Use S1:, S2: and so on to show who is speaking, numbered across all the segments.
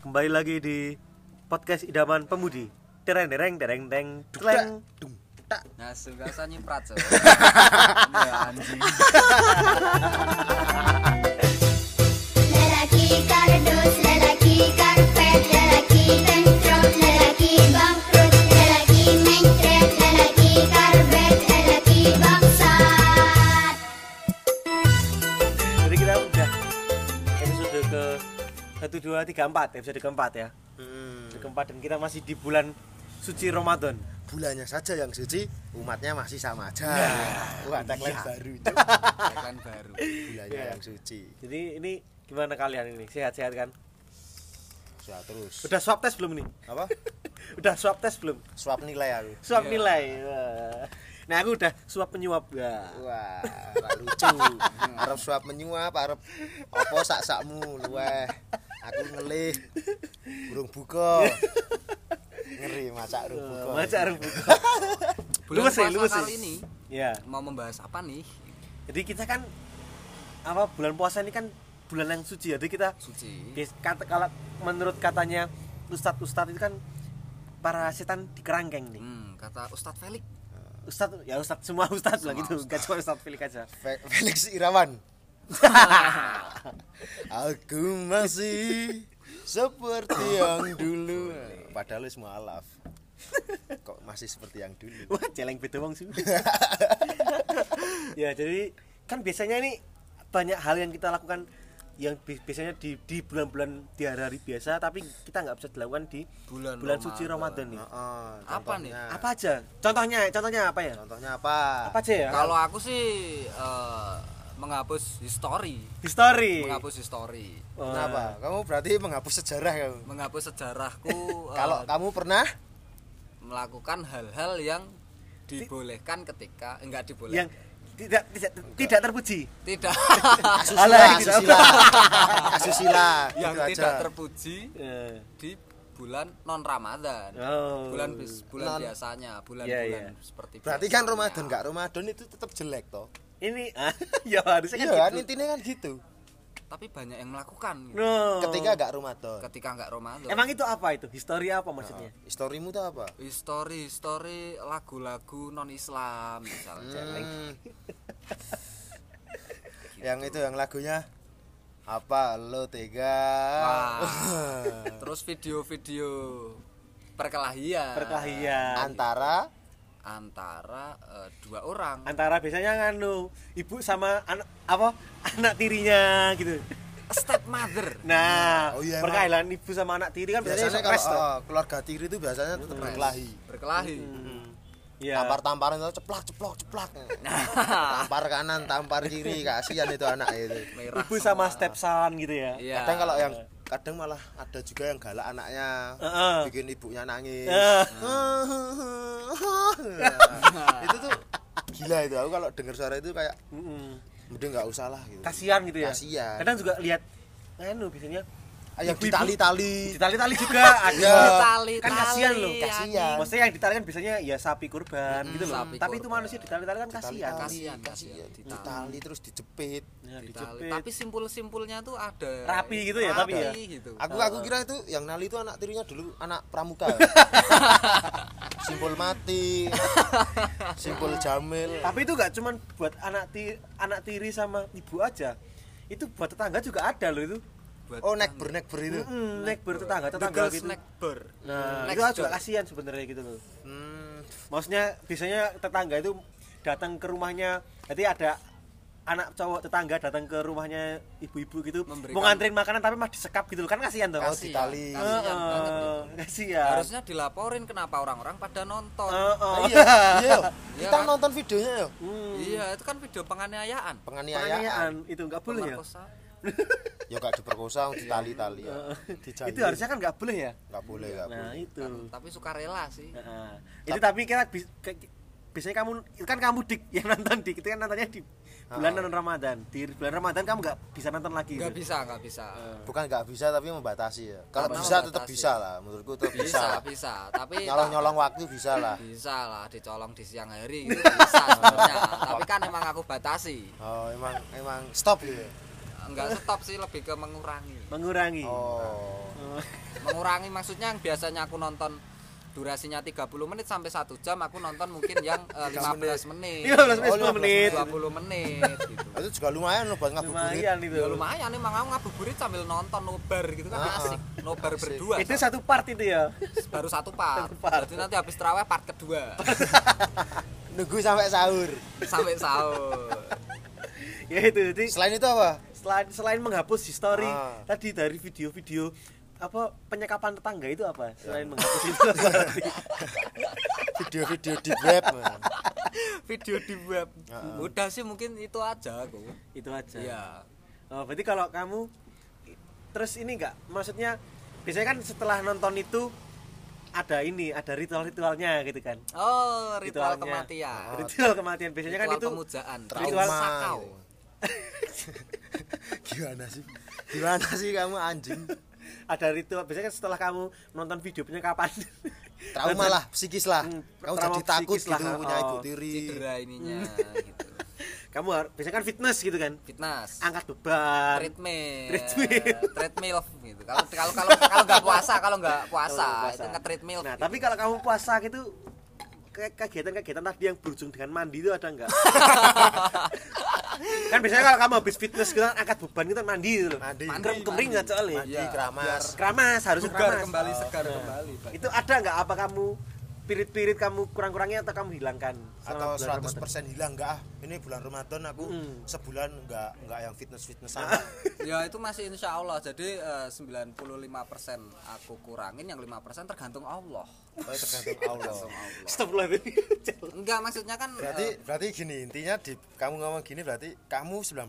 S1: Kembali lagi di podcast idaman pemudi. Tereng dereng dereng deng teleng.
S2: Nah, rasa nyiprat so. ya anjing.
S3: ララキーカルドスララキーカルペットララキーテントロララキーバンプロララキーメンテララキーカルベッララキーバンサー
S1: Jadi kita udah episode ke satu dua tiga empat episode keempat ya. Episode
S2: Hmm.
S1: keempat dan kita masih di bulan suci Ramadan.
S4: bulannya saja yang suci umatnya masih sama aja wah tagline baru itu
S2: Tagline baru.
S4: bulannya
S1: Iya.
S4: yang suci
S1: Jadi ini gimana kalian ini sehat-sehat kan?
S4: sudah terus
S1: Udah swab test belum nih?
S4: apa
S1: Udah swab test belum?
S4: suap nilai aku
S1: Swab
S2: Iya.
S1: nilai. Wah. Nah aku udah swab penyuap ya.
S4: wah gak lucu arep suap menyuap arep opo sak sakmu luweh aku ngelih burung buka ngeri macak burung buka
S1: Maca rumput.
S2: Bulan
S1: Luwes sih,
S2: puasa
S1: luwes sih.
S2: kali ini
S1: Ya.
S2: mau membahas apa nih?
S1: Jadi kita kan apa bulan puasa ini kan bulan yang suci. Jadi kita
S2: Suci.
S1: bias- kata kalau menurut katanya ustadz ustadz itu kan para setan di kerangkeng nih.
S2: Hmm, kata Ustadz Felix.
S1: Ustadz ya ustadz semua ustadz lah
S2: Semua
S1: gitu. Gak cuma ustadz Felix aja.
S4: Fe- Felix Irawan aku masih seperti yang dulu padahal wis mualaf kok masih seperti yang dulu
S1: Wah, celeng beda wong sih. ya, jadi kan biasanya ini banyak hal yang kita lakukan yang bi- biasanya di di bulan-bulan di hari-hari biasa tapi kita nggak bisa dilakukan di
S2: Bulan
S1: suci
S2: Ramadan.
S1: Ramadan nih.
S4: Heeh,
S2: Apa nih?
S4: contohnya.
S1: Apa aja? Contohnya, contohnya apa ya?
S4: Contohnya apa?
S1: Apa aja ya?
S2: Kalau aku sih eh, menghapus history,
S1: history.
S2: menghapus history,
S1: Wah.
S4: Kenapa? Kamu berarti menghapus sejarah kamu.
S2: menghapus sejarahku eh,
S4: Kalau kamu pernah
S2: melakukan hal-hal yang dibolehkan ketika enggak dibolehkan.
S1: Yang tidak tidak tidak terpuji.
S2: tidak
S4: asusila,
S1: Alah, gitu.
S4: asusila, asusila,
S2: yang
S4: gitu
S2: tidak
S4: aja.
S2: terpuji
S1: Eh,
S2: di bulan non Ramadan.
S1: Oh.
S2: Bulan bis- bulan
S4: Non-
S2: biasanya, bulan-bulan
S1: Iya,
S2: seperti
S4: Berarti kan
S2: biasanya.
S4: Ramadan enggak Ramadan itu tetap jelek toh.
S1: ini ah, ya harusnya
S4: Iya kan
S1: kan gitu.
S4: intinya kan gitu. Oh.
S2: Tapi banyak yang melakukan gitu.
S1: No.
S4: Ketika enggak Ramadan.
S2: ketika enggak Ramadan.
S1: Emang itu apa itu? History apa
S4: Oh.
S1: maksudnya?
S4: Historimu tuh apa?
S2: history history lagu-lagu non Islam
S1: Iya.
S2: misalnya.
S4: Hmm. yang itu yang lagunya apa lo tega
S2: Wah. Terus video-video perkelahian.
S1: Perkelahian.
S4: antara
S2: antara eh, dua orang.
S1: antara biasanya nganu ibu sama anak apa anak tirinya gitu
S2: Step mother.
S1: nah
S4: Oh iya, emang.
S1: perkelahian ibu sama anak tiri kan biasanya,
S4: biasanya
S1: biasanya
S4: kalau
S1: stres toh
S4: oh, keluarga tiri itu biasanya tetap berkelahi
S2: Berkelahi.
S4: oh.
S1: Iya. Nah.
S4: tampar-tamparan itu ceplak ceplok ceplak tampar kanan tampar kiri kasihan itu anak itu
S2: Merah.
S1: ibu sama
S4: Ah.
S1: stepson gitu ya
S2: Iya.
S4: kadang kalau yang kadang malah ada juga yang galak anaknya
S1: Heeh.
S4: bikin ibunya nangis
S1: Eh,
S4: Nah. itu tuh gila itu aku kalau dengar suara itu kayak
S1: mm-mm.
S4: mending nggak usah lah gitu
S1: kasihan gitu ya
S4: Kasihan.
S1: kadang juga lihat nganu biasanya
S4: Ah, yang
S1: ibu-ibu-
S4: ditali-tali
S1: ditali-tali juga ada
S4: Iya.
S2: Ditali-tali.
S1: kan kasihan loh
S4: Kasihan.
S1: maksudnya yang ditali kan biasanya ya sapi kurban gitu loh
S2: Hmm, sapi
S1: tapi itu
S2: kurban.
S1: manusia ditali-tali kan kasihan
S2: Kasihan,
S4: kasihan
S2: kasihan.
S4: ditali terus dijepit
S1: Ya,
S2: Ditali.
S1: dijepit.
S2: Tapi simpul-simpulnya tuh ada.
S1: Rapi gitu ya, tapi ya?
S2: Rapi gitu.
S4: Aku aku kira itu yang nali itu anak tirinya dulu anak pramuka. simpul mati. Simpul Jamil.
S1: Tapi itu gak cuman buat anak tiri, anak tiri sama ibu aja. Itu buat tetangga juga ada loh itu.
S2: Buat
S4: Oh nek ber nek ber itu.
S1: Hmm, nek ber tetangga
S2: The
S1: tetangga
S2: girls
S1: gitu.
S2: neck burr.
S1: Nah,
S2: Neck
S1: itu juga
S2: Hmm, door.
S1: kasihan sebenarnya gitu loh.
S4: Hmm,
S1: Maksudnya biasanya tetangga itu datang ke rumahnya, nanti ada anak cowok tetangga datang ke rumahnya ibu-ibu gitu
S2: Memberikan-
S1: mau nganterin makanan tapi mah disekap gitu loh kan kasihan tuh
S4: Oh,
S1: kasihan,
S4: ditali.
S2: Kasihan
S1: Iya.
S2: banget gitu.
S1: kasihan.
S2: Iya. Harusnya dilaporin kenapa orang-orang pada nonton.
S1: Eh, eh.
S4: Iya, iya.
S2: Iya
S4: Kita
S2: kan?
S4: nonton videonya yo.
S2: Iya, itu kan video penganiayaan.
S4: Penganiayaan.
S1: penganiayaan itu nggak boleh ya
S2: Pemerkosa.
S4: Ya gak diperkosa ditali-tali. ya. Dijahili.
S1: itu harusnya kan nggak boleh ya
S4: Gak boleh gak
S1: nah
S4: boleh.
S1: itu
S2: Tapi suka rela sih.
S1: Heeh. itu tapi kita bis- ke- ke- biasanya kamu itu kan kamu dik yang nonton dik itu kan nontonnya di bulan non Ramadan di bulan Ramadan kamu nggak bisa nonton lagi
S2: Enggak
S1: gitu.
S2: bisa, enggak bisa.
S4: Bukan gak bisa tapi membatasi ya. Kalau
S2: Karena
S4: bisa tetap
S2: membatasi.
S4: bisa lah menurutku tetap bisa.
S2: Bisa,
S4: lah.
S2: bisa. Tapi
S4: Nyolong-nyolong waktu bisa lah.
S2: bisa lah dicolong di siang hari gitu bisa sebenarnya. Tapi kan emang aku batasi.
S4: Oh, emang emang stop gitu. ya?
S2: Enggak stop sih lebih ke mengurangi.
S1: mengurangi
S4: Oh.
S2: mengurangi maksudnya yang biasanya aku nonton durasinya 30 menit sampai 1 jam aku nonton mungkin yang eh, 15 menit
S1: 15 menit,
S4: Oh,
S1: 10 menit.
S2: 20 menit gitu
S4: Itu juga lumayan loh buat ngabuburit.
S1: Lumayan itu.
S2: ya lumayan emang aku ngabuburit sambil nonton nobar gitu kan
S4: Ah.
S2: asik nobar
S4: Asik.
S2: berdua
S1: Itu satu part itu ya.
S2: baru satu part
S1: Satu part.
S2: jadi nanti habis terawih part kedua
S4: Nunggu sampai sahur.
S2: sampai sahur
S1: ya itu. Jadi
S4: Selain itu apa?
S1: selain selain menghapus history
S4: Ah.
S1: tadi dari video-video apa penyekapan tetangga itu apa selain menghapus history
S4: Video-video di web.
S2: video di web
S4: Heeh.
S2: Ah. udah sih mungkin itu aja aku
S1: itu aja.
S2: ya
S1: Oh, berarti kalau kamu terus ini enggak maksudnya biasanya kan setelah nonton itu ada ini, ada ritual-ritualnya gitu kan.
S2: oh ritual
S1: Ritualnya.
S2: kematian
S1: Ritual kematian biasanya kan
S2: Ah. ritual
S1: itu
S2: pemujaan
S1: ritual
S2: ritual sakau
S4: Gimana sih? Gimana sih kamu anjing?
S1: ada ritual biasanya kan setelah kamu nonton video penyekapan
S4: Trauma lah, psikis lah.
S1: Hmm,
S4: Kamu
S1: trauma
S4: jadi takut
S1: psikis lah,
S4: gitu punya
S1: oh.
S4: ibu tiri.
S2: cedera ininya
S1: Hmm.
S2: gitu
S1: kamu harus biasanya kan fitness gitu kan
S2: fitness
S1: angkat beban
S2: treadmill
S1: Treadmill.
S2: treadmill gitu kalau kalau kalau kalau nggak puasa kalau nggak puasa
S1: Kalau puasa.
S2: itu nge treadmill
S1: nah tapi kalau kamu puasa gitu ke- kegiatan-kegiatan tadi yang berujung dengan mandi itu ada nggak kan biasanya kalau kamu habis fitness gitu kan angkat beban gitu kan mandi gitu loh
S4: Mandi.
S1: Kerem kering nggak soalnya
S4: Mandi
S2: Iya.
S4: keramas.
S1: keramas harus
S2: segar
S1: keramas
S2: kembali segar kembali Pak.
S1: itu ada nggak apa kamu pirit-pirit kamu kurang-kurangnya atau kamu hilangkan
S4: atau
S1: selama bulan
S4: 100%
S1: Ramadan?
S4: hilang enggak ah ini bulan Ramadan aku
S1: Mm.
S4: sebulan enggak enggak yang fitness fitness
S2: ya itu masih insya Allah jadi eh, 95% aku kurangin yang 5% tergantung Allah
S4: oh, tergantung Allah
S1: Astagfirullahaladzim.
S2: enggak maksudnya kan eh,
S4: berarti berarti gini intinya di kamu ngomong gini berarti kamu 90%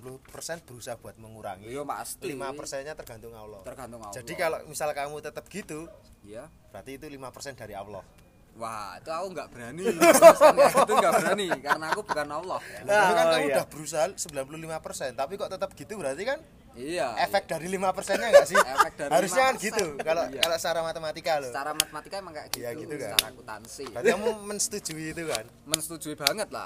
S4: berusaha buat mengurangi
S2: Iya, pasti.
S4: 5%-nya tergantung Allah
S2: tergantung Allah
S4: jadi kalau misal kamu tetap gitu
S2: ya
S4: berarti itu 5% dari Allah
S2: Wah, itu aku nggak berani. Jelaskan kayak gitu nggak berani karena aku bukan Allah. ya.
S1: Nah,
S4: Tapi kan
S1: oh
S4: kamu
S1: iya.
S4: udah berusaha 95% tapi kok tetap gitu berarti kan
S2: Iya.
S4: efek dari 5%-nya enggak sih
S2: Efek dari
S4: harusnya kan
S2: 5%.
S4: gitu kalau
S2: Iya.
S4: kalau secara matematika loh
S2: Secara matematika emang kayak gitu.
S4: Iya, gitu kan.
S2: Secara akuntansi.
S4: berarti kamu mensetujui itu kan
S2: Mensetujui banget lah.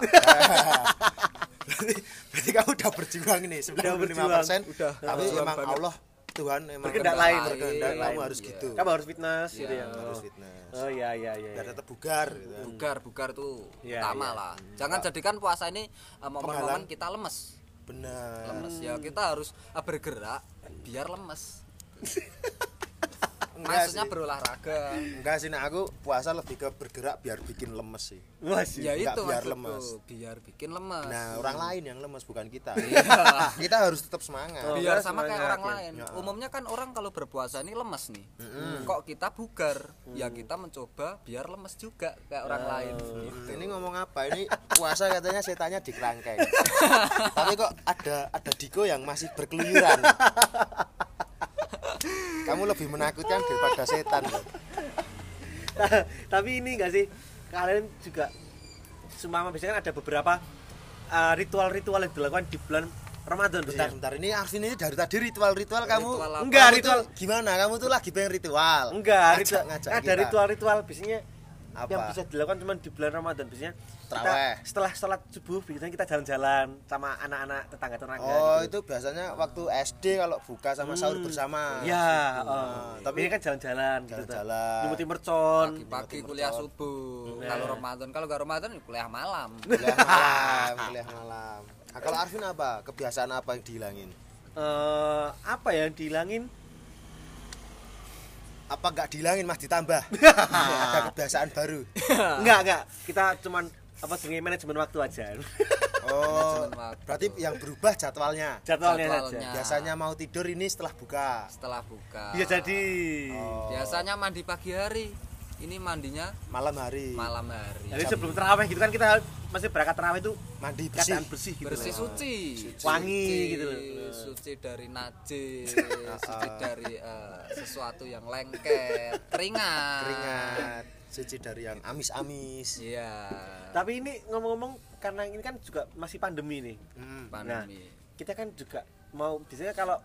S4: berarti, berarti kamu udah berjuang nih 95%
S1: Udah berjuang,
S2: udah.
S4: tapi
S2: Berjuang
S4: emang
S2: banget.
S4: Allah Tuhan emang
S1: Berkehendak
S4: kenapa-
S1: lain.
S4: berkehendak
S1: Iya,
S4: kamu
S1: lain.
S4: harus
S2: Iya.
S4: gitu
S1: kamu harus fitness
S2: Iya,
S1: gitu ya
S4: harus
S1: oh.
S4: fitness
S1: oh iya iya iya
S4: biar tetap bugar gitu.
S2: Bugar, bugar tuh
S1: Iya,
S2: utama
S1: iya.
S2: lah. Jangan jadikan puasa ini eh, momen-momen
S4: Penghalang. Eh.
S2: kita lemes.
S4: benar
S2: Lemes ya kita harus eh, bergerak biar lemes.
S4: Enggak
S2: Maksudnya
S4: sih.
S2: berolahraga.
S4: enggak sih nah aku puasa lebih ke bergerak biar bikin lemes sih
S1: Wah, sih.
S2: Ya
S4: Enggak,
S2: itu
S4: biar
S2: maksudku,
S4: lemes.
S2: biar bikin lemes.
S4: nah orang lain yang lemes bukan kita
S2: Iya.
S4: kita harus tetap semangat
S1: Oh.
S2: biar
S1: Biar
S2: sama kayak
S1: semangat,
S2: orang
S1: ya.
S2: lain umumnya kan orang kalau berpuasa ini lemes nih kok kita bugar ya
S4: Mm.
S2: kita mencoba biar lemes juga kayak orang
S4: Nah.
S2: lain
S4: ini ngomong apa ini puasa katanya setannya di kerangkeng tapi kok ada ada Diko yang masih berkeluyuran kamu lebih menakutkan daripada setan loh.
S1: Ta- tapi ini enggak sih kalian juga semama biasanya kan ada beberapa uh, ritual-ritual yang dilakukan di bulan Ramadan
S4: bentar
S1: biasanya.
S4: bentar ini Arvin ini dari tadi ritual-ritual kamu
S2: Ritual apa?
S1: Enggak,
S4: Iya. kamu
S1: ritual-
S4: tuh gimana kamu tuh lagi pengen ritual
S1: enggak
S4: Ngajak-
S1: ritual,
S4: ngajak
S1: ada
S4: kita.
S1: ritual-ritual biasanya
S4: Apa?
S1: yang bisa dilakukan cuma di bulan Ramadan biasanya kita
S4: Traweh.
S1: setelah sholat subuh biasanya kita jalan-jalan sama anak-anak tetangga tetangga gitu.
S4: oh itu biasanya waktu SD kalau buka sama sahur bersama Gitu.
S1: ya
S4: Nah, tapi-
S1: tapi ini kan jalan-jalan gitu tuh.
S4: Jalan-jalan.
S1: nyemuti mercon
S2: pagi-pagi kuliah subuh
S4: Nah.
S2: kalau Ramadan kalau nggak Ramadan ya kuliah malam
S4: kuliah malam kuliah malam Nah, kalau Arvin apa kebiasaan apa yang dihilangin
S1: Eh, apa ya yang dihilangin
S4: apa nggak dihilangin mas ditambah ada kebiasaan baru
S1: enggak enggak kita cuman apa sebagai manajemen waktu aja
S4: oh
S2: Manajemen waktu.
S4: berarti yang berubah jadwalnya
S1: jadwalnya, saja
S2: Jadwalnya.
S4: biasanya mau tidur ini setelah buka
S2: setelah buka
S4: Iya,
S1: Bisa Iya, jadi.
S4: Oh,
S2: biasanya mandi pagi hari ini mandinya
S4: malam hari
S2: malam hari
S1: Jadi sebelum terawih gitu kan kita masih berangkat terawih itu
S4: mandi bersih
S1: keadaan bersih gitu.
S2: bersih
S1: loh.
S2: suci
S1: Wangi
S2: Suci,
S1: gitu loh.
S2: suci dari najis suci dari eh, sesuatu yang lengket keringat
S4: keringat suci dari yang amis-amis
S2: iya
S1: Tapi ini ngomong-ngomong karena ini kan juga masih pandemi nih.
S4: Hmm.
S2: pandemi
S1: Kita kan juga mau biasanya kalau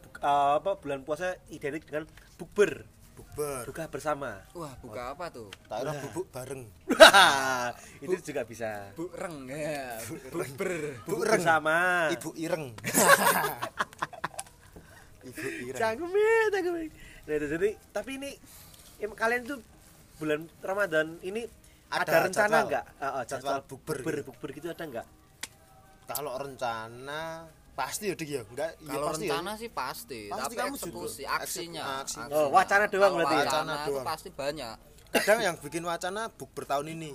S1: bu- eh, apa bulan puasa identik dengan bukber,
S4: bukber
S1: buka bersama.
S2: Wah, buka apa tuh?
S4: tak kira bubuk bareng
S1: itu juga bisa.
S2: Bu reng ya. Bu ber.
S1: Buka
S4: Bureng.
S2: Ah.
S1: bersama.
S4: ibu ireng ibu ireng
S1: Canggung, Min, canggung. Min. Nah, itu jadi tapi ini em, kalian tuh bulan Ramadan ini ada,
S4: Ada
S1: rencana
S4: jadwal.
S1: nggak? Ah, ah,
S4: Jadwal bukber
S1: bukber,
S4: gitu.
S1: bukber gitu ada nggak?
S4: kalau rencana pasti ya dik ya enggak iya
S2: Kalau
S4: pasti
S2: rencana
S4: ya
S2: sih pasti,
S4: Pasti
S2: tapi
S4: kamu
S2: eksekusi,
S4: juga.
S2: aksinya.
S4: Eksekusi.
S2: aksinya.
S1: Oh, wacana doang
S2: Kalau
S1: berarti ya?
S2: wacana
S4: Wacana
S2: itu
S4: doang.
S2: pasti banyak.
S4: kadang yang bikin wacana bukber tahun ini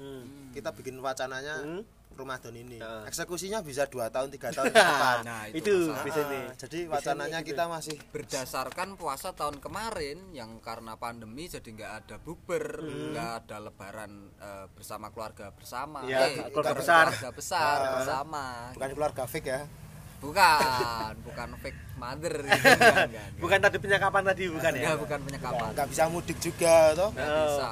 S1: Hmm.
S4: kita bikin wacananya
S1: Hmm.
S4: Ramadan ini
S1: Nah.
S4: eksekusinya bisa dua tahun tiga tahun ke depan
S2: Ah. Nah, itu
S1: itu
S2: masalah.
S1: bisa
S4: Ah,
S1: nih.
S4: jadi wacananya kita
S2: gitu.
S4: masih
S2: Berdasarkan puasa tahun kemarin yang karena pandemi jadi nggak ada bukber,
S1: Hmm.
S2: nggak ada lebaran eh, bersama keluarga bersama. Eh,
S1: Iya, keluarga besar. Ah.
S2: Keluarga besar bersama.
S4: bukan keluarga fake ya
S2: Bukan, bukan fake mother gitu. Enggak, enggak, enggak.
S1: Bukan tadi penyekapan tadi bukan ya? Oh.
S2: Enggak, bukan penyekapan.
S4: nggak bisa mudik juga toh
S2: Nggak bisa.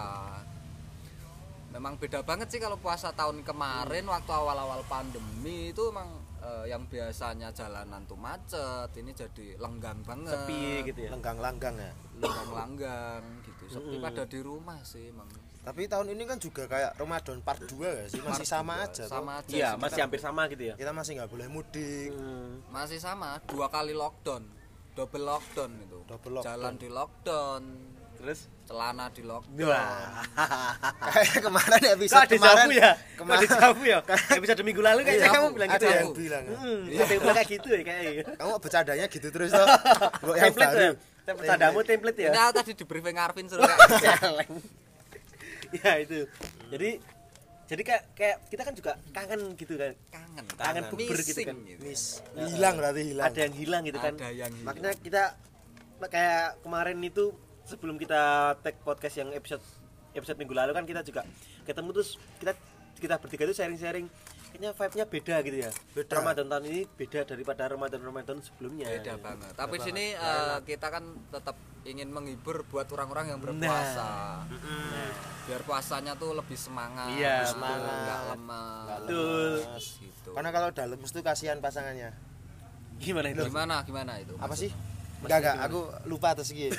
S2: Memang beda banget sih kalau puasa tahun kemarin
S1: Hmm.
S2: waktu awal-awal pandemi itu emang eh, yang biasanya jalanan tuh macet, ini jadi lenggang banget.
S1: Sepi gitu
S2: Iya.
S1: ya.
S4: lenggang-lenggang ya
S2: Lenggang-lenggang gitu. Sepi pada di rumah sih emang.
S4: tapi tahun ini kan juga kayak Ramadan part 2 ya sih masih sama aja toh.
S2: Sama aja.
S1: Iya,
S2: sih.
S1: masih hampir sama gitu ya.
S4: kita masih nggak boleh mudik
S1: Hmm.
S2: Masih sama, dua kali lockdown. Double lockdown itu.
S4: Double lockdown.
S2: Jalan di lockdown,
S1: Terus
S2: celana di lockdown.
S4: Iya.
S1: Iya. Wah.
S4: kayak kemarin
S1: Kok
S4: episode
S1: ada
S4: kemarin
S1: sabu ya? Kok
S4: kemarin
S1: ada sabu ya? Episode minggu lalu kayaknya
S2: Iya,
S1: kamu
S2: aku.
S1: bilang
S4: ada
S1: gitu ya.
S4: yang bilang ya.
S1: Hmm, ada yang bilang kayak gitu ya kayaknya.
S4: kamu bercandanya gitu terus toh Kok yang
S1: template
S4: baru
S1: ya. Template adamu template ya.
S2: Nah, tadi di briefing Arvin suruh kayak
S1: Celeng. ya itu. Jadi jadi kayak, kayak kita kan juga kangen gitu kan.
S2: kangen.
S1: Kangen bukber gitu kan.
S2: Missing gitu.
S4: Miss. hilang berarti hilang
S1: Ada yang hilang gitu kan.
S2: Ada yang hilang.
S1: Makanya kita kayak kemarin itu sebelum kita tag podcast yang episode episode minggu lalu kan kita juga ketemu terus kita kita bertiga itu sharing-sharing kayaknya vibe-nya beda gitu ya.
S4: Beda.
S1: Ramadan tahun ini beda daripada Ramadan-Ramadan sebelumnya.
S2: beda
S1: Gitu.
S2: banget. Tapi di sini eh, kita kan tetap ingin menghibur buat orang-orang yang berpuasa. Biar puasanya tuh lebih semangat,
S1: Nah. Iya,
S2: terus tuh
S1: semangat.
S2: nggak lemah.
S1: Betul.
S2: Terus gitu.
S4: karena kalau udah lemes tuh kasihan pasangannya
S1: Gimana itu?
S2: Gimana gimana itu?
S4: apa sih enggak enggak aku lupa terus gitu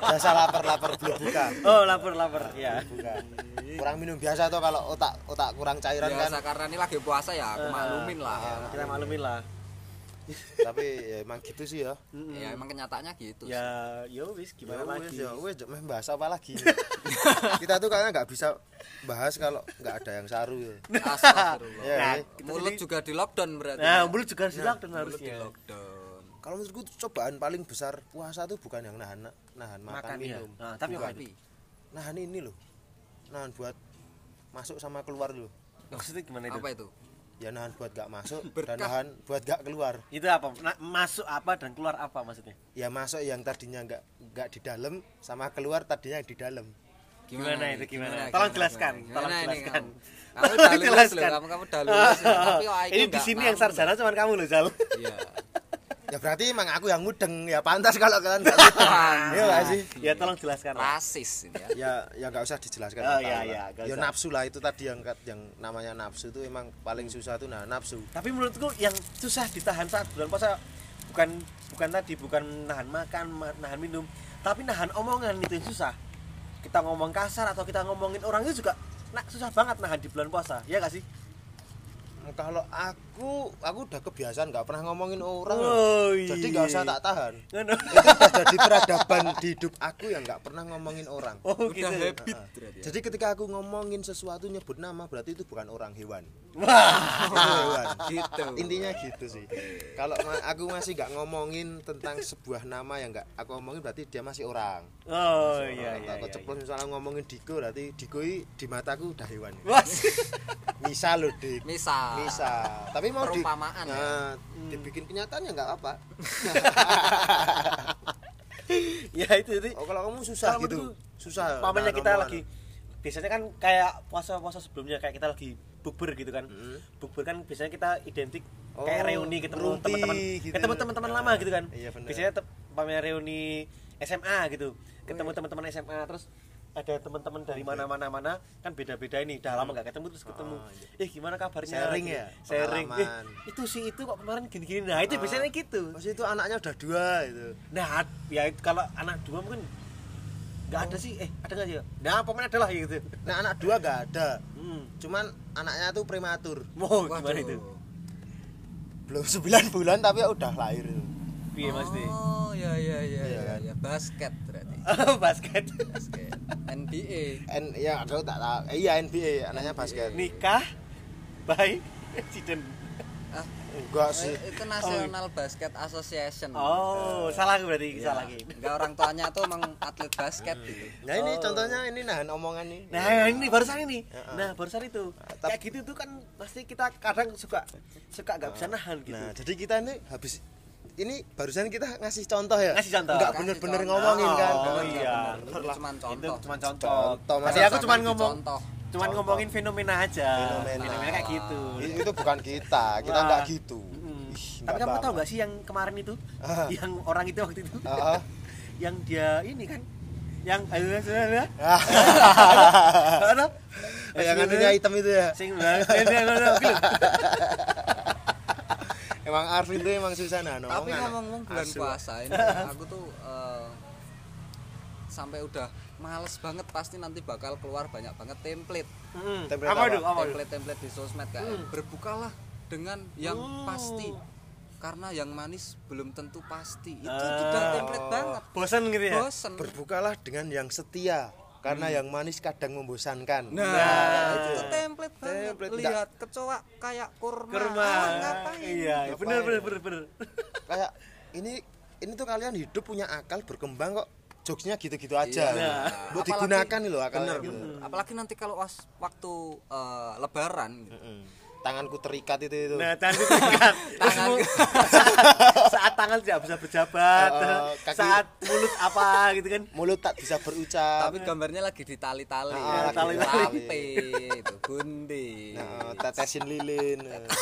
S4: biasa lapar lapar belum buka
S1: Oh, lapar-lapar ya.
S4: buka kurang minum biasa toh kalau otak otak kurang cairan kan
S2: Biasa karena ini lagi puasa
S1: Eh,
S2: ya, aku maklumin lah.
S1: Kita maklumin lah.
S4: tapi ya, emang gitu sih ya
S2: Ya emang kenyataannya gitu.
S1: Ya, yo wis gimana
S4: Ya wes,
S1: lagi?
S4: ya wes, meh bahas apa lagi kita tuh kayaknya nggak bisa bahas kalau nggak ada yang saru ya
S2: sih. Astagfirullah.
S4: Ya,
S1: Nah,
S4: ya.
S1: kita
S2: Mulut
S1: jadi-
S2: juga di lockdown berarti.
S1: Nah,
S2: ya?
S1: mulut juga harus dilockdown
S2: Mulut di
S1: harusnya.
S2: lockdown.
S4: kalau menurutku tuh cobaan paling besar puasa tuh bukan yang nahan nahan makan,
S1: Makan ya.
S4: minum
S1: Nah, tapi
S4: Bukan.
S1: apa itu?
S4: nahan ini loh nahan buat masuk sama keluar loh
S1: Maksudnya gimana itu?
S2: Apa itu?
S4: ya nahan buat gak masuk
S2: Berkah.
S4: dan nahan buat gak keluar
S1: Itu apa? Na- masuk apa dan keluar apa maksudnya?
S4: ya masuk yang tadinya nggak nggak di dalam sama keluar tadinya di dalam
S1: Gimana itu, gimana? Tolong jelaskan, tolong
S2: ini
S1: jelaskan.
S2: kamu? Kamu udah lulus loh,
S1: Jelaskan.
S2: kamu kamu udah lulus loh, tapi oh, aku
S1: ini di
S2: nggak
S1: sini
S2: mau.
S1: yang sarjana cuman kamu loh, Jal.
S2: Iya.
S4: ya berarti emang aku yang mudeng ya pantas kalau kalian nggak mudeng
S2: Iya
S4: ya nggak sih
S1: ya tolong jelaskan. lah.
S2: Ah, Rasis ini ya.
S4: ya ya nggak usah dijelaskan
S1: Oh,
S4: Tahu
S1: ya,
S4: lah.
S1: ya, nggak
S4: ya
S1: usah.
S4: nafsu lah itu tadi yang yang namanya nafsu itu emang paling susah tuh nah nafsu
S1: Tapi menurutku yang susah ditahan saat bulan puasa bukan bukan tadi bukan nahan makan, ma- nahan minum, tapi nahan omongan itu yang susah. Kita ngomong kasar atau kita ngomongin orang itu juga nah, susah banget nahan di bulan puasa. Ya gak sih?
S4: Nah, kalau aku aku udah kebiasaan nggak pernah ngomongin orang
S1: Oh,
S4: jadi nggak usah
S1: iya.
S4: tak tahan
S1: Ngono.
S4: itu udah jadi peradaban di hidup aku yang nggak pernah ngomongin orang
S1: Oh,
S2: Udah
S1: gitu.
S2: habit berarti. ya.
S4: Jadi ketika aku ngomongin sesuatu nyebut nama berarti itu bukan orang hewan.
S1: Wah.
S4: Itu hewan.
S2: Gitu.
S4: Intinya gitu sih. Kalau ma- aku masih nggak ngomongin tentang sebuah nama yang nggak aku ngomongin berarti dia masih orang.
S1: Oh
S4: Orang
S1: iya
S4: atau
S1: iya.
S4: aku
S1: iya,
S4: ceplos misalnya ngomongin Diko berarti Diko i di mataku udah hewan.
S1: iya. Wah.
S4: Misal loh Dik.
S2: Misal.
S4: Misal. Tapi mau di,
S2: Perumpamaan ya.
S4: Nah, dibikin kenyataannya nggak apa.
S1: ya itu jadi
S4: Oh kalau kamu susah
S1: Kalau
S4: gitu.
S1: menurutku,
S4: Susah. Nah,
S1: pamannya
S4: nahan
S1: kita
S4: omongan.
S1: lagi biasanya kan kayak puasa-puasa sebelumnya kayak kita lagi bukber gitu kan bukber kan biasanya kita identik kayak
S4: Mm-hmm. Oh,
S1: reuni ketemu
S4: ngerumpi
S1: teman-teman
S4: gitu.
S1: ketemu teman-teman lama gitu kan
S4: Iya, bener.
S1: biasanya te- pamer reuni SMA gitu
S4: Oh,
S1: ketemu
S4: iya.
S1: teman-teman SMA terus ada teman-teman dari mana-mana mana kan beda-beda ini udah lama gak ketemu terus ketemu eh gimana kabarnya
S4: Hmm. Ah, iya.
S1: Gitu.
S4: Sharing ya,
S1: sharing eh,
S4: pengalaman. Ah,
S1: itu sih itu kok kemarin gini-gini nah itu biasanya gitu
S4: Maksudnya itu anaknya udah dua gitu. itu.
S1: Nah, ad- ya itu kalau anak dua mungkin nggak ada sih. Eh, ada nggak sih? Nah, pemain adalah ya gitu.
S4: Nah anak dua nggak ada.
S1: Hmm.
S4: Cuman anaknya tuh prematur.
S1: Wow,
S2: Waduh.
S1: gimana itu?
S4: Belum 9 bulan tapi udah lahir.
S1: Piye Mas Di?
S2: Oh, ya ya ya.
S4: Iya,
S2: ya.
S1: Iya, kan
S2: ya basket berarti
S1: basket
S2: basket NBA
S4: N ya aku tak tahu. Eh, iya NBA anaknya basket.
S1: nikah baik presiden
S2: ah
S4: Enggak sih.
S2: eh, itu National Basket Association
S1: iya. oh salah aku berarti
S2: Ya,
S1: salah lagi Ah, iya.
S2: enggak orang tuanya tuh emang atlet basket gitu
S4: Nah ini contohnya ini nahan omongan nih.
S1: Oh. Nah ini barusan ini, nah barusan itu
S4: tap-
S1: kayak gitu tuh kan pasti kita kadang suka suka nggak bisa nahan gitu.
S4: Nah, jadi kita nih habis ini barusan kita ngasih contoh ya.
S1: Ngasih contoh.
S4: Enggak
S2: Kasih
S4: bener-bener
S2: contoh.
S4: ngomongin kan.
S1: Oh,
S2: Enggak,
S1: iya.
S2: bener. Itu cuman
S1: Itu
S2: contoh
S1: cuma contoh.
S4: Contoh,
S1: Tadi
S4: masa
S1: aku cuma
S2: jangan
S1: ngomong,
S2: dicontoh.
S1: cuman
S4: Contoh.
S1: ngomongin fenomena aja.
S4: Fenomena. Ah,
S1: kayak gitu.
S4: I- Itu bukan kita, kita
S1: Wah.
S4: enggak gitu.
S1: Mm.
S4: Ih,
S1: Tapi kamu tahu
S4: banget.
S1: nggak sih yang kemarin itu,
S4: Ah.
S1: yang orang itu waktu itu,
S4: Ah, ah.
S1: yang dia ini kan, yang
S4: Ah,
S1: Ada?
S4: yang anunya hitam itu ya.
S1: Sing tapi
S4: Emang Arvin itu emang susah nahan
S2: tapi
S4: omongan.
S2: ngomong-ngomong bulan
S4: Asu.
S2: puasa ini aku tuh eh, sampai udah males banget pasti nanti bakal keluar banyak banget template
S1: Mm.
S4: Template
S1: Apa
S4: apa?
S1: itu? Apa itu? Hmm.
S2: template template di sosmed kayak berbukalah dengan yang
S1: Oh.
S2: pasti karena yang manis belum tentu pasti itu
S1: Ah.
S2: sudah template banget
S1: Bosan gitu ya?
S2: bosen
S4: Berbukalah dengan yang setia karena yang manis kadang membosankan.
S2: nah, itu tuh template banget
S4: iya. Template, enggak.
S2: lihat kecoa kayak kurma,
S1: Kurma.
S2: Ah, ngapain
S1: Iya,
S4: Ngapain?
S1: bener bener bener bener.
S4: kayak ini ini tuh kalian hidup punya akal berkembang kok jokesnya gitu-gitu aja Nah,
S2: Iya.
S4: buat
S2: Apalagi-
S4: digunakan nih loh akalnya
S2: Bener,
S4: gitu
S2: bener. Hmm. apalagi nanti kalau was- waktu eh, lebaran gitu.
S4: Mm. tanganku terikat itu itu
S1: Nah, tangan diangkat. Terus
S2: Tangan.
S1: mu- saat tangan tidak bisa berjabat,
S4: Eh, eh, kaki-
S1: saat mulut apa gitu kan.
S4: mulut tak bisa berucap
S2: tapi gambarnya lagi ditali-tali ya,
S4: Ah,
S2: Lagi
S1: tali-tali.
S2: lampe, itu gunting
S4: nah, tetesin lilin
S2: tetes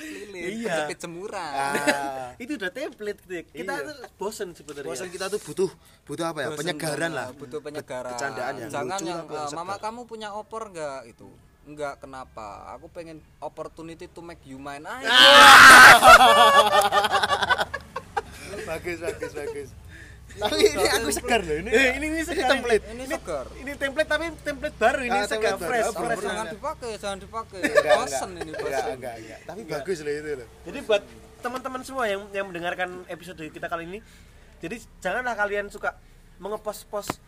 S2: lilin
S1: Iya.
S2: kejepit jemuran
S4: Ah,
S1: Itu udah template gitu. ya. Kita
S4: Iya.
S1: tuh bosen sebenarnya.
S4: bosan kita tuh butuh butuh apa ya
S2: Bosen
S4: penyegaran
S2: banget,
S4: lah
S2: butuh penyegaran
S4: bercandaan yang
S2: jangan
S4: lucu
S2: yang
S4: tapi yang
S2: eh, mama
S4: segar."
S2: kamu punya opor enggak itu enggak kenapa aku pengen opportunity to make you mine ah, itu
S4: bagus bagus bagus tapi ini aku segar loh ini
S1: Eh, ini ini segar ini.
S4: template
S2: ini segar
S1: Ini template tapi template baru ini
S4: Ah,
S1: segar
S4: template baru.
S1: fresh,
S4: Oh,
S1: fresh.
S4: bener.
S2: jangan dipakai jangan dipakai
S4: Enggak,
S2: bosen
S4: enggak.
S2: ini
S4: Enggak,
S2: bosen
S4: enggak, enggak. tapi bagus loh itu loh
S1: Jadi buat teman-teman semua yang yang mendengarkan episode kita kali ini, jadi janganlah kalian suka mengepost-post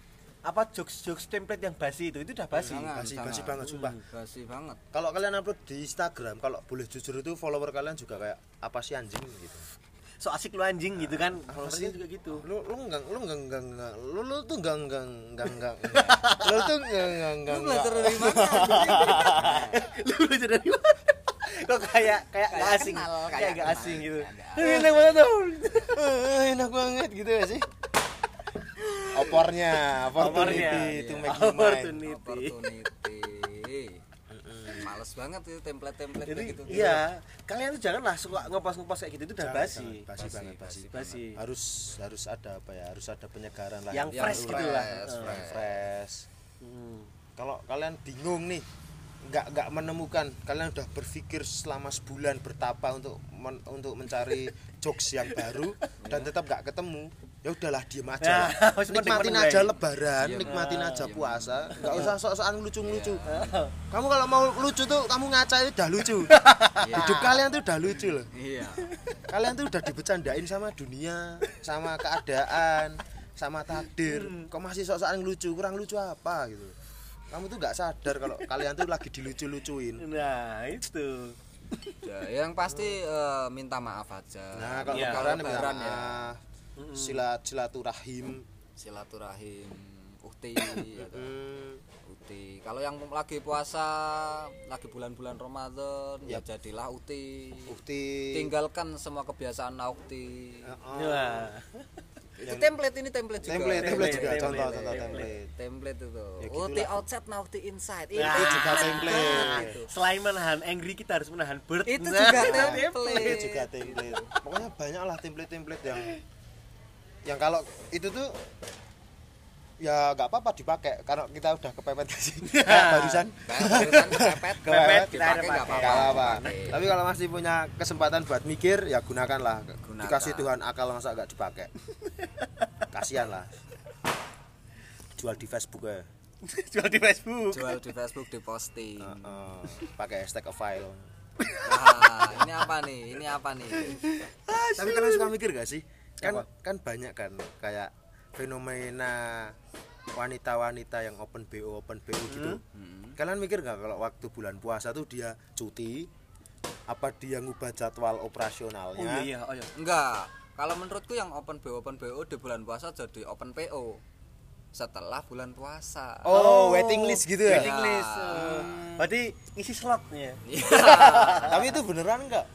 S1: apa jokes-jokes template yang basi itu. Itu udah basi.
S2: Jangan,
S4: Basi-
S2: jangan.
S4: basi banget, sumpah.
S2: Hmm, basi banget
S4: kalau kalian upload di Instagram kalau boleh jujur itu follower kalian juga kayak apa sih anjing gitu
S1: So asik lu anjing gitu kan.
S4: Apa
S1: Harusnya
S4: sih?
S1: juga gitu.
S4: lu lu enggak lu enggak enggak enggak lu lu tuh enggak enggak enggak enggak lu tuh enggak enggak enggak
S2: lu belajar
S4: enggak.
S2: dari mana
S1: lu belajar dari mana? Kok kayak kayak nggak
S2: Kayak
S1: asing,
S2: kenal,
S1: kayak
S2: kayak
S1: nggak
S2: kenal.
S1: asing gitu.
S2: Ada.
S1: Lu enak banget dong.
S4: Eh, enak banget gitu ya sih opornya opportunity to make you mine
S1: Iya. Opportunity.
S2: opportunity males banget itu template-template
S1: Jadi
S2: kayak gitu
S1: iya, kalian tuh janganlah suka ngepost-ngepost kayak gitu itu udah
S4: Jangan,
S1: basi.
S4: jangan, basi banget basi
S1: basi, basi.
S4: banget. harus harus ada apa ya harus ada penyegaran lah
S1: Yang fresh
S4: fresh,
S1: gitu lah.
S4: fresh,
S1: Heeh.
S4: fresh.
S1: Hmm.
S4: kalau kalian bingung nih nggak nggak menemukan kalian udah berpikir selama sebulan bertapa untuk men- untuk mencari jokes yang baru dan tetap nggak ketemu ya udahlah diem aja
S1: Ya, Iya. harus mending
S4: nikmatin
S1: menunggu iya,
S4: aja
S1: ya.
S4: lebaran nikmatin aja puasa nggak usah sok-sokan lucu-lucu
S1: Iya.
S4: kamu kalau mau lucu tuh kamu ngaca itu udah lucu
S1: Iya.
S4: hidup kalian tuh udah lucu loh
S2: iya
S4: kalian tuh udah dibecandain sama dunia sama keadaan sama takdir kok masih sok-sokan lucu kurang lucu apa gitu kamu tuh nggak sadar kalau kalian tuh lagi dilucu-lucuin
S1: Nah, itu.
S2: Ya, yang pasti eh, minta maaf aja
S4: nah kalau
S1: Iya,
S4: lebaran ya,
S2: lebaran ya.
S4: maaf. silat silaturahim
S2: silaturahim ukti ya kan?
S4: Hmm,
S2: ukti kalau yang lagi puasa lagi bulan-bulan Ramadan ya jadilah ukti
S4: bukti
S2: tinggalkan semua kebiasaan ukti
S4: Heeh.
S1: Nah.
S2: itu template ini template juga
S4: template template juga
S1: Template,
S4: contoh
S1: template,
S4: contoh
S1: template.
S4: template
S2: template itu
S4: Ya, gitu
S2: ukti
S4: lah.
S2: outside nah ukti inside
S4: itu
S2: Itu
S4: juga template
S2: Gitu.
S1: Selain menahan angry kita harus menahan bird.
S2: Itu
S1: Nah,
S2: juga
S1: itu
S2: template.
S4: itu Iya, juga template pokoknya banyak lah template-template yang yang kalau itu tuh ya nggak apa-apa dipakai karena kita udah kepepet di sini Kayak barusan
S2: Barusan kepepet,
S1: Kepepet, kita
S2: dipakai nggak
S1: pakai.
S4: nggak apa-apa
S2: apa-apa.
S4: tapi kalau masih punya kesempatan buat mikir ya gunakanlah
S2: Gunakan.
S4: dikasih Tuhan akal masa nggak dipakai kasihan lah jual di Facebook ya
S1: Jual di Facebook.
S2: Jual di Facebook, di posting.
S4: Heeh. pakai hashtag a file
S2: Wah, ini apa nih? Ini apa nih?
S4: tapi kalian suka mikir gak sih kan kan banyak kan kayak fenomena wanita-wanita yang open BO open BO
S1: Hmm.
S4: gitu. Kalian mikir nggak kalau waktu bulan puasa tuh dia cuti apa dia ngubah jadwal operasionalnya?
S1: oh iya iya oh iya
S2: Enggak. Kalau menurutku yang open BO open BO di bulan puasa jadi open PO setelah bulan puasa.
S4: Oh, waiting list gitu ya. Hmm.
S1: waiting list eh, berarti isi slotnya
S2: Iya.
S4: Tapi itu beneran nggak?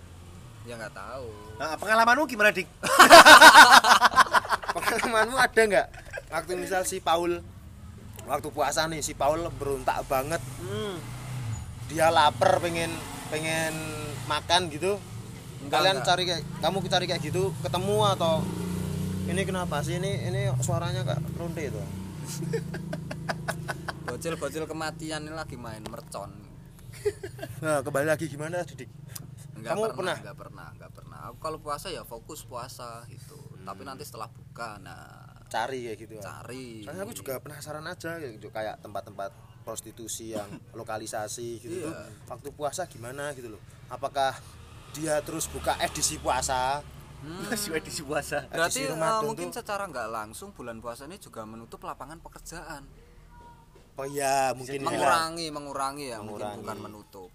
S2: ya nggak tahu.
S1: nah, pengalamanmu gimana dik
S4: Pengalamanmu ada nggak? Waktu misal si Paul waktu puasa nih si Paul berontak banget,
S1: hmm.
S4: dia lapar pengen pengen makan gitu.
S2: Enggak,
S4: Kalian
S2: enggak.
S4: cari kayak kamu cari kayak gitu ketemu atau ini kenapa sih ini ini suaranya kak ronde itu?
S2: Bocil-bocil kematian ini lagi main mercon.
S4: Nah, kembali lagi gimana Didik?
S2: Enggak
S4: Kamu
S2: pernah,
S4: pernah?
S2: enggak pernah, enggak pernah. Aku kalau puasa ya fokus puasa gitu. Tapi
S4: Hmm.
S2: nanti setelah buka nah
S4: Cari kayak gitu. ya?
S2: cari.
S4: Soalnya aku juga penasaran aja kayak gitu, kayak tempat-tempat prostitusi yang lokalisasi gitu tuh waktu puasa gimana gitu loh. Apakah dia terus buka edisi puasa?
S1: Hmm. masih edisi puasa
S2: Berarti
S4: edisi
S2: eh,
S4: Ramadan
S2: mungkin
S4: tuh-
S2: secara nggak langsung bulan puasa ini juga menutup lapangan pekerjaan.
S4: Oh iya, mungkin ya.
S2: mengurangi mengurangi ya mungkin
S4: Mengurangi.
S2: bukan menutup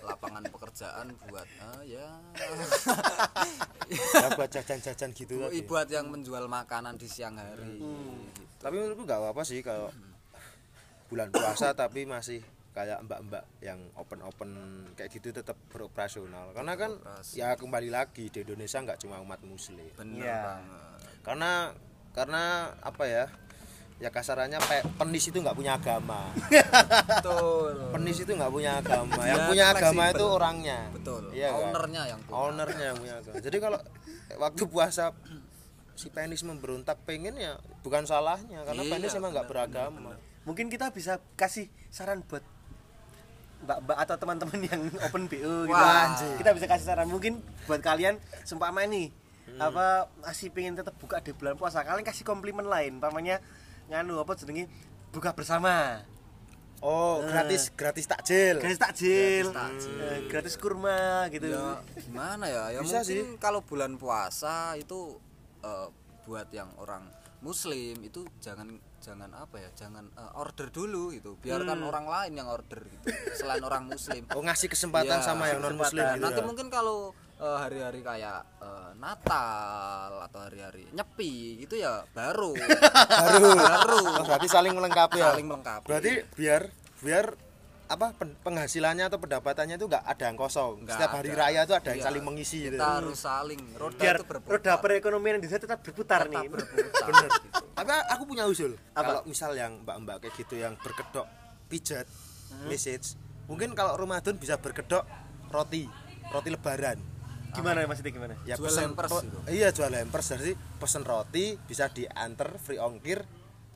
S2: lapangan pekerjaan buat eh, ya
S4: ya buat jajan-jajan gitu
S2: Bu-
S4: tadi.
S2: buat yang menjual makanan di siang hari
S4: Hmm. Tapi menurutku nggak apa-apa sih kalau bulan puasa tapi masih kayak mbak-mbak yang open-open kayak gitu tetap beroperasional karena kan ya kembali lagi di Indonesia nggak cuma umat muslim
S2: bener
S1: Iya.
S2: banget
S4: karena karena apa ya ya kasarannya pe- penis itu nggak punya agama
S2: betul
S4: penis itu nggak punya agama yang
S2: Ya,
S4: punya agama
S2: fleksibel.
S4: itu orangnya
S2: betul
S4: Iya kan?
S2: ownernya yang punya.
S4: ownernya yang punya agama jadi kalau waktu puasa si penis memberontak pengen ya bukan salahnya karena
S2: Iya,
S4: penis emang nggak beragama
S1: mungkin kita bisa kasih saran buat mbak-mbak atau teman-teman yang open BO gitu.
S2: Wah,
S1: kita bisa kasih saran mungkin buat kalian seumpama ini
S2: Hmm.
S1: apa masih pengen tetap buka di bulan puasa kalian kasih komplimen lain umpamanya nganu apa jenenge buka bersama
S4: oh
S2: Nah.
S4: gratis gratis takjil
S1: gratis takjil
S2: Gratis takjil.
S1: eh, gratis kurma gitu
S2: ya gimana ya ya
S4: Bisa
S2: mungkin kalau bulan puasa itu eh, buat yang orang muslim itu jangan jangan apa ya jangan eh, order dulu gitu biarkan orang lain yang order gitu selain orang muslim
S4: Hmm. oh ngasih kesempatan
S2: Iya,
S4: sama yang
S2: kesempatan.
S4: non muslim gitu
S2: nanti
S4: ya.
S2: mungkin kalau eh, hari-hari kayak eh, Natal atau hari-hari nyepi itu ya baru
S4: baru
S2: baru
S4: Oh, berarti saling melengkapi
S2: ya,
S4: ya
S2: Saling melengkapi.
S4: berarti biar biar apa pen- penghasilannya atau pendapatannya itu nggak ada yang kosong
S2: Nggak
S4: setiap hari
S2: ada.
S4: raya itu ada yang
S2: Iya,
S4: saling mengisi gitu
S2: kita harus saling roda
S1: biar
S2: itu berputar
S1: roda perekonomian di tetap berputar
S2: tetap
S1: nih
S2: berputar gitu.
S4: tapi aku punya usul kalau misal yang mbak-mbak kayak gitu yang berkedok pijat
S2: Hmm.
S4: message mungkin kalau Ramadan bisa berkedok roti roti lebaran
S1: gimana mas Iti gimana
S4: ya
S2: Jual hampers
S4: ro-
S2: gitu.
S4: iya jual hampers jadi pesen roti bisa diantar free ongkir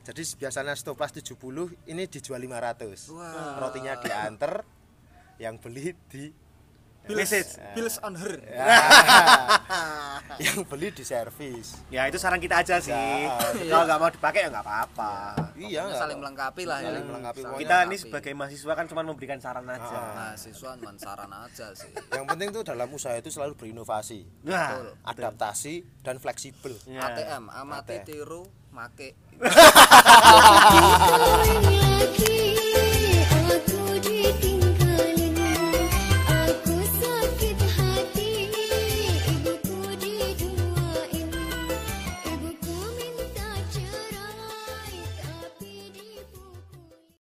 S4: jadi biasanya stopas 70 ini dijual 500
S2: Wah.
S4: rotinya diantar yang beli di
S1: message
S2: bills on her
S4: Ya. Iya, yang beli di servis
S1: ya itu saran kita aja sih
S4: Ya,
S1: kalau nggak mau dipakai ya nggak apa-apa
S4: iya
S2: Pokoknya
S4: nggak
S2: saling melengkapi lah ya
S4: Saling melengkapi, pokoknya.
S1: kita ini sebagai mahasiswa kan cuma memberikan saran aja
S2: nah siswa cuma saran aja sih
S4: yang penting tuh dalam usaha itu selalu berinovasi
S1: nah
S4: adaptasi dan fleksibel
S1: Ya.
S2: ATM amati tiru make
S3: Thank you.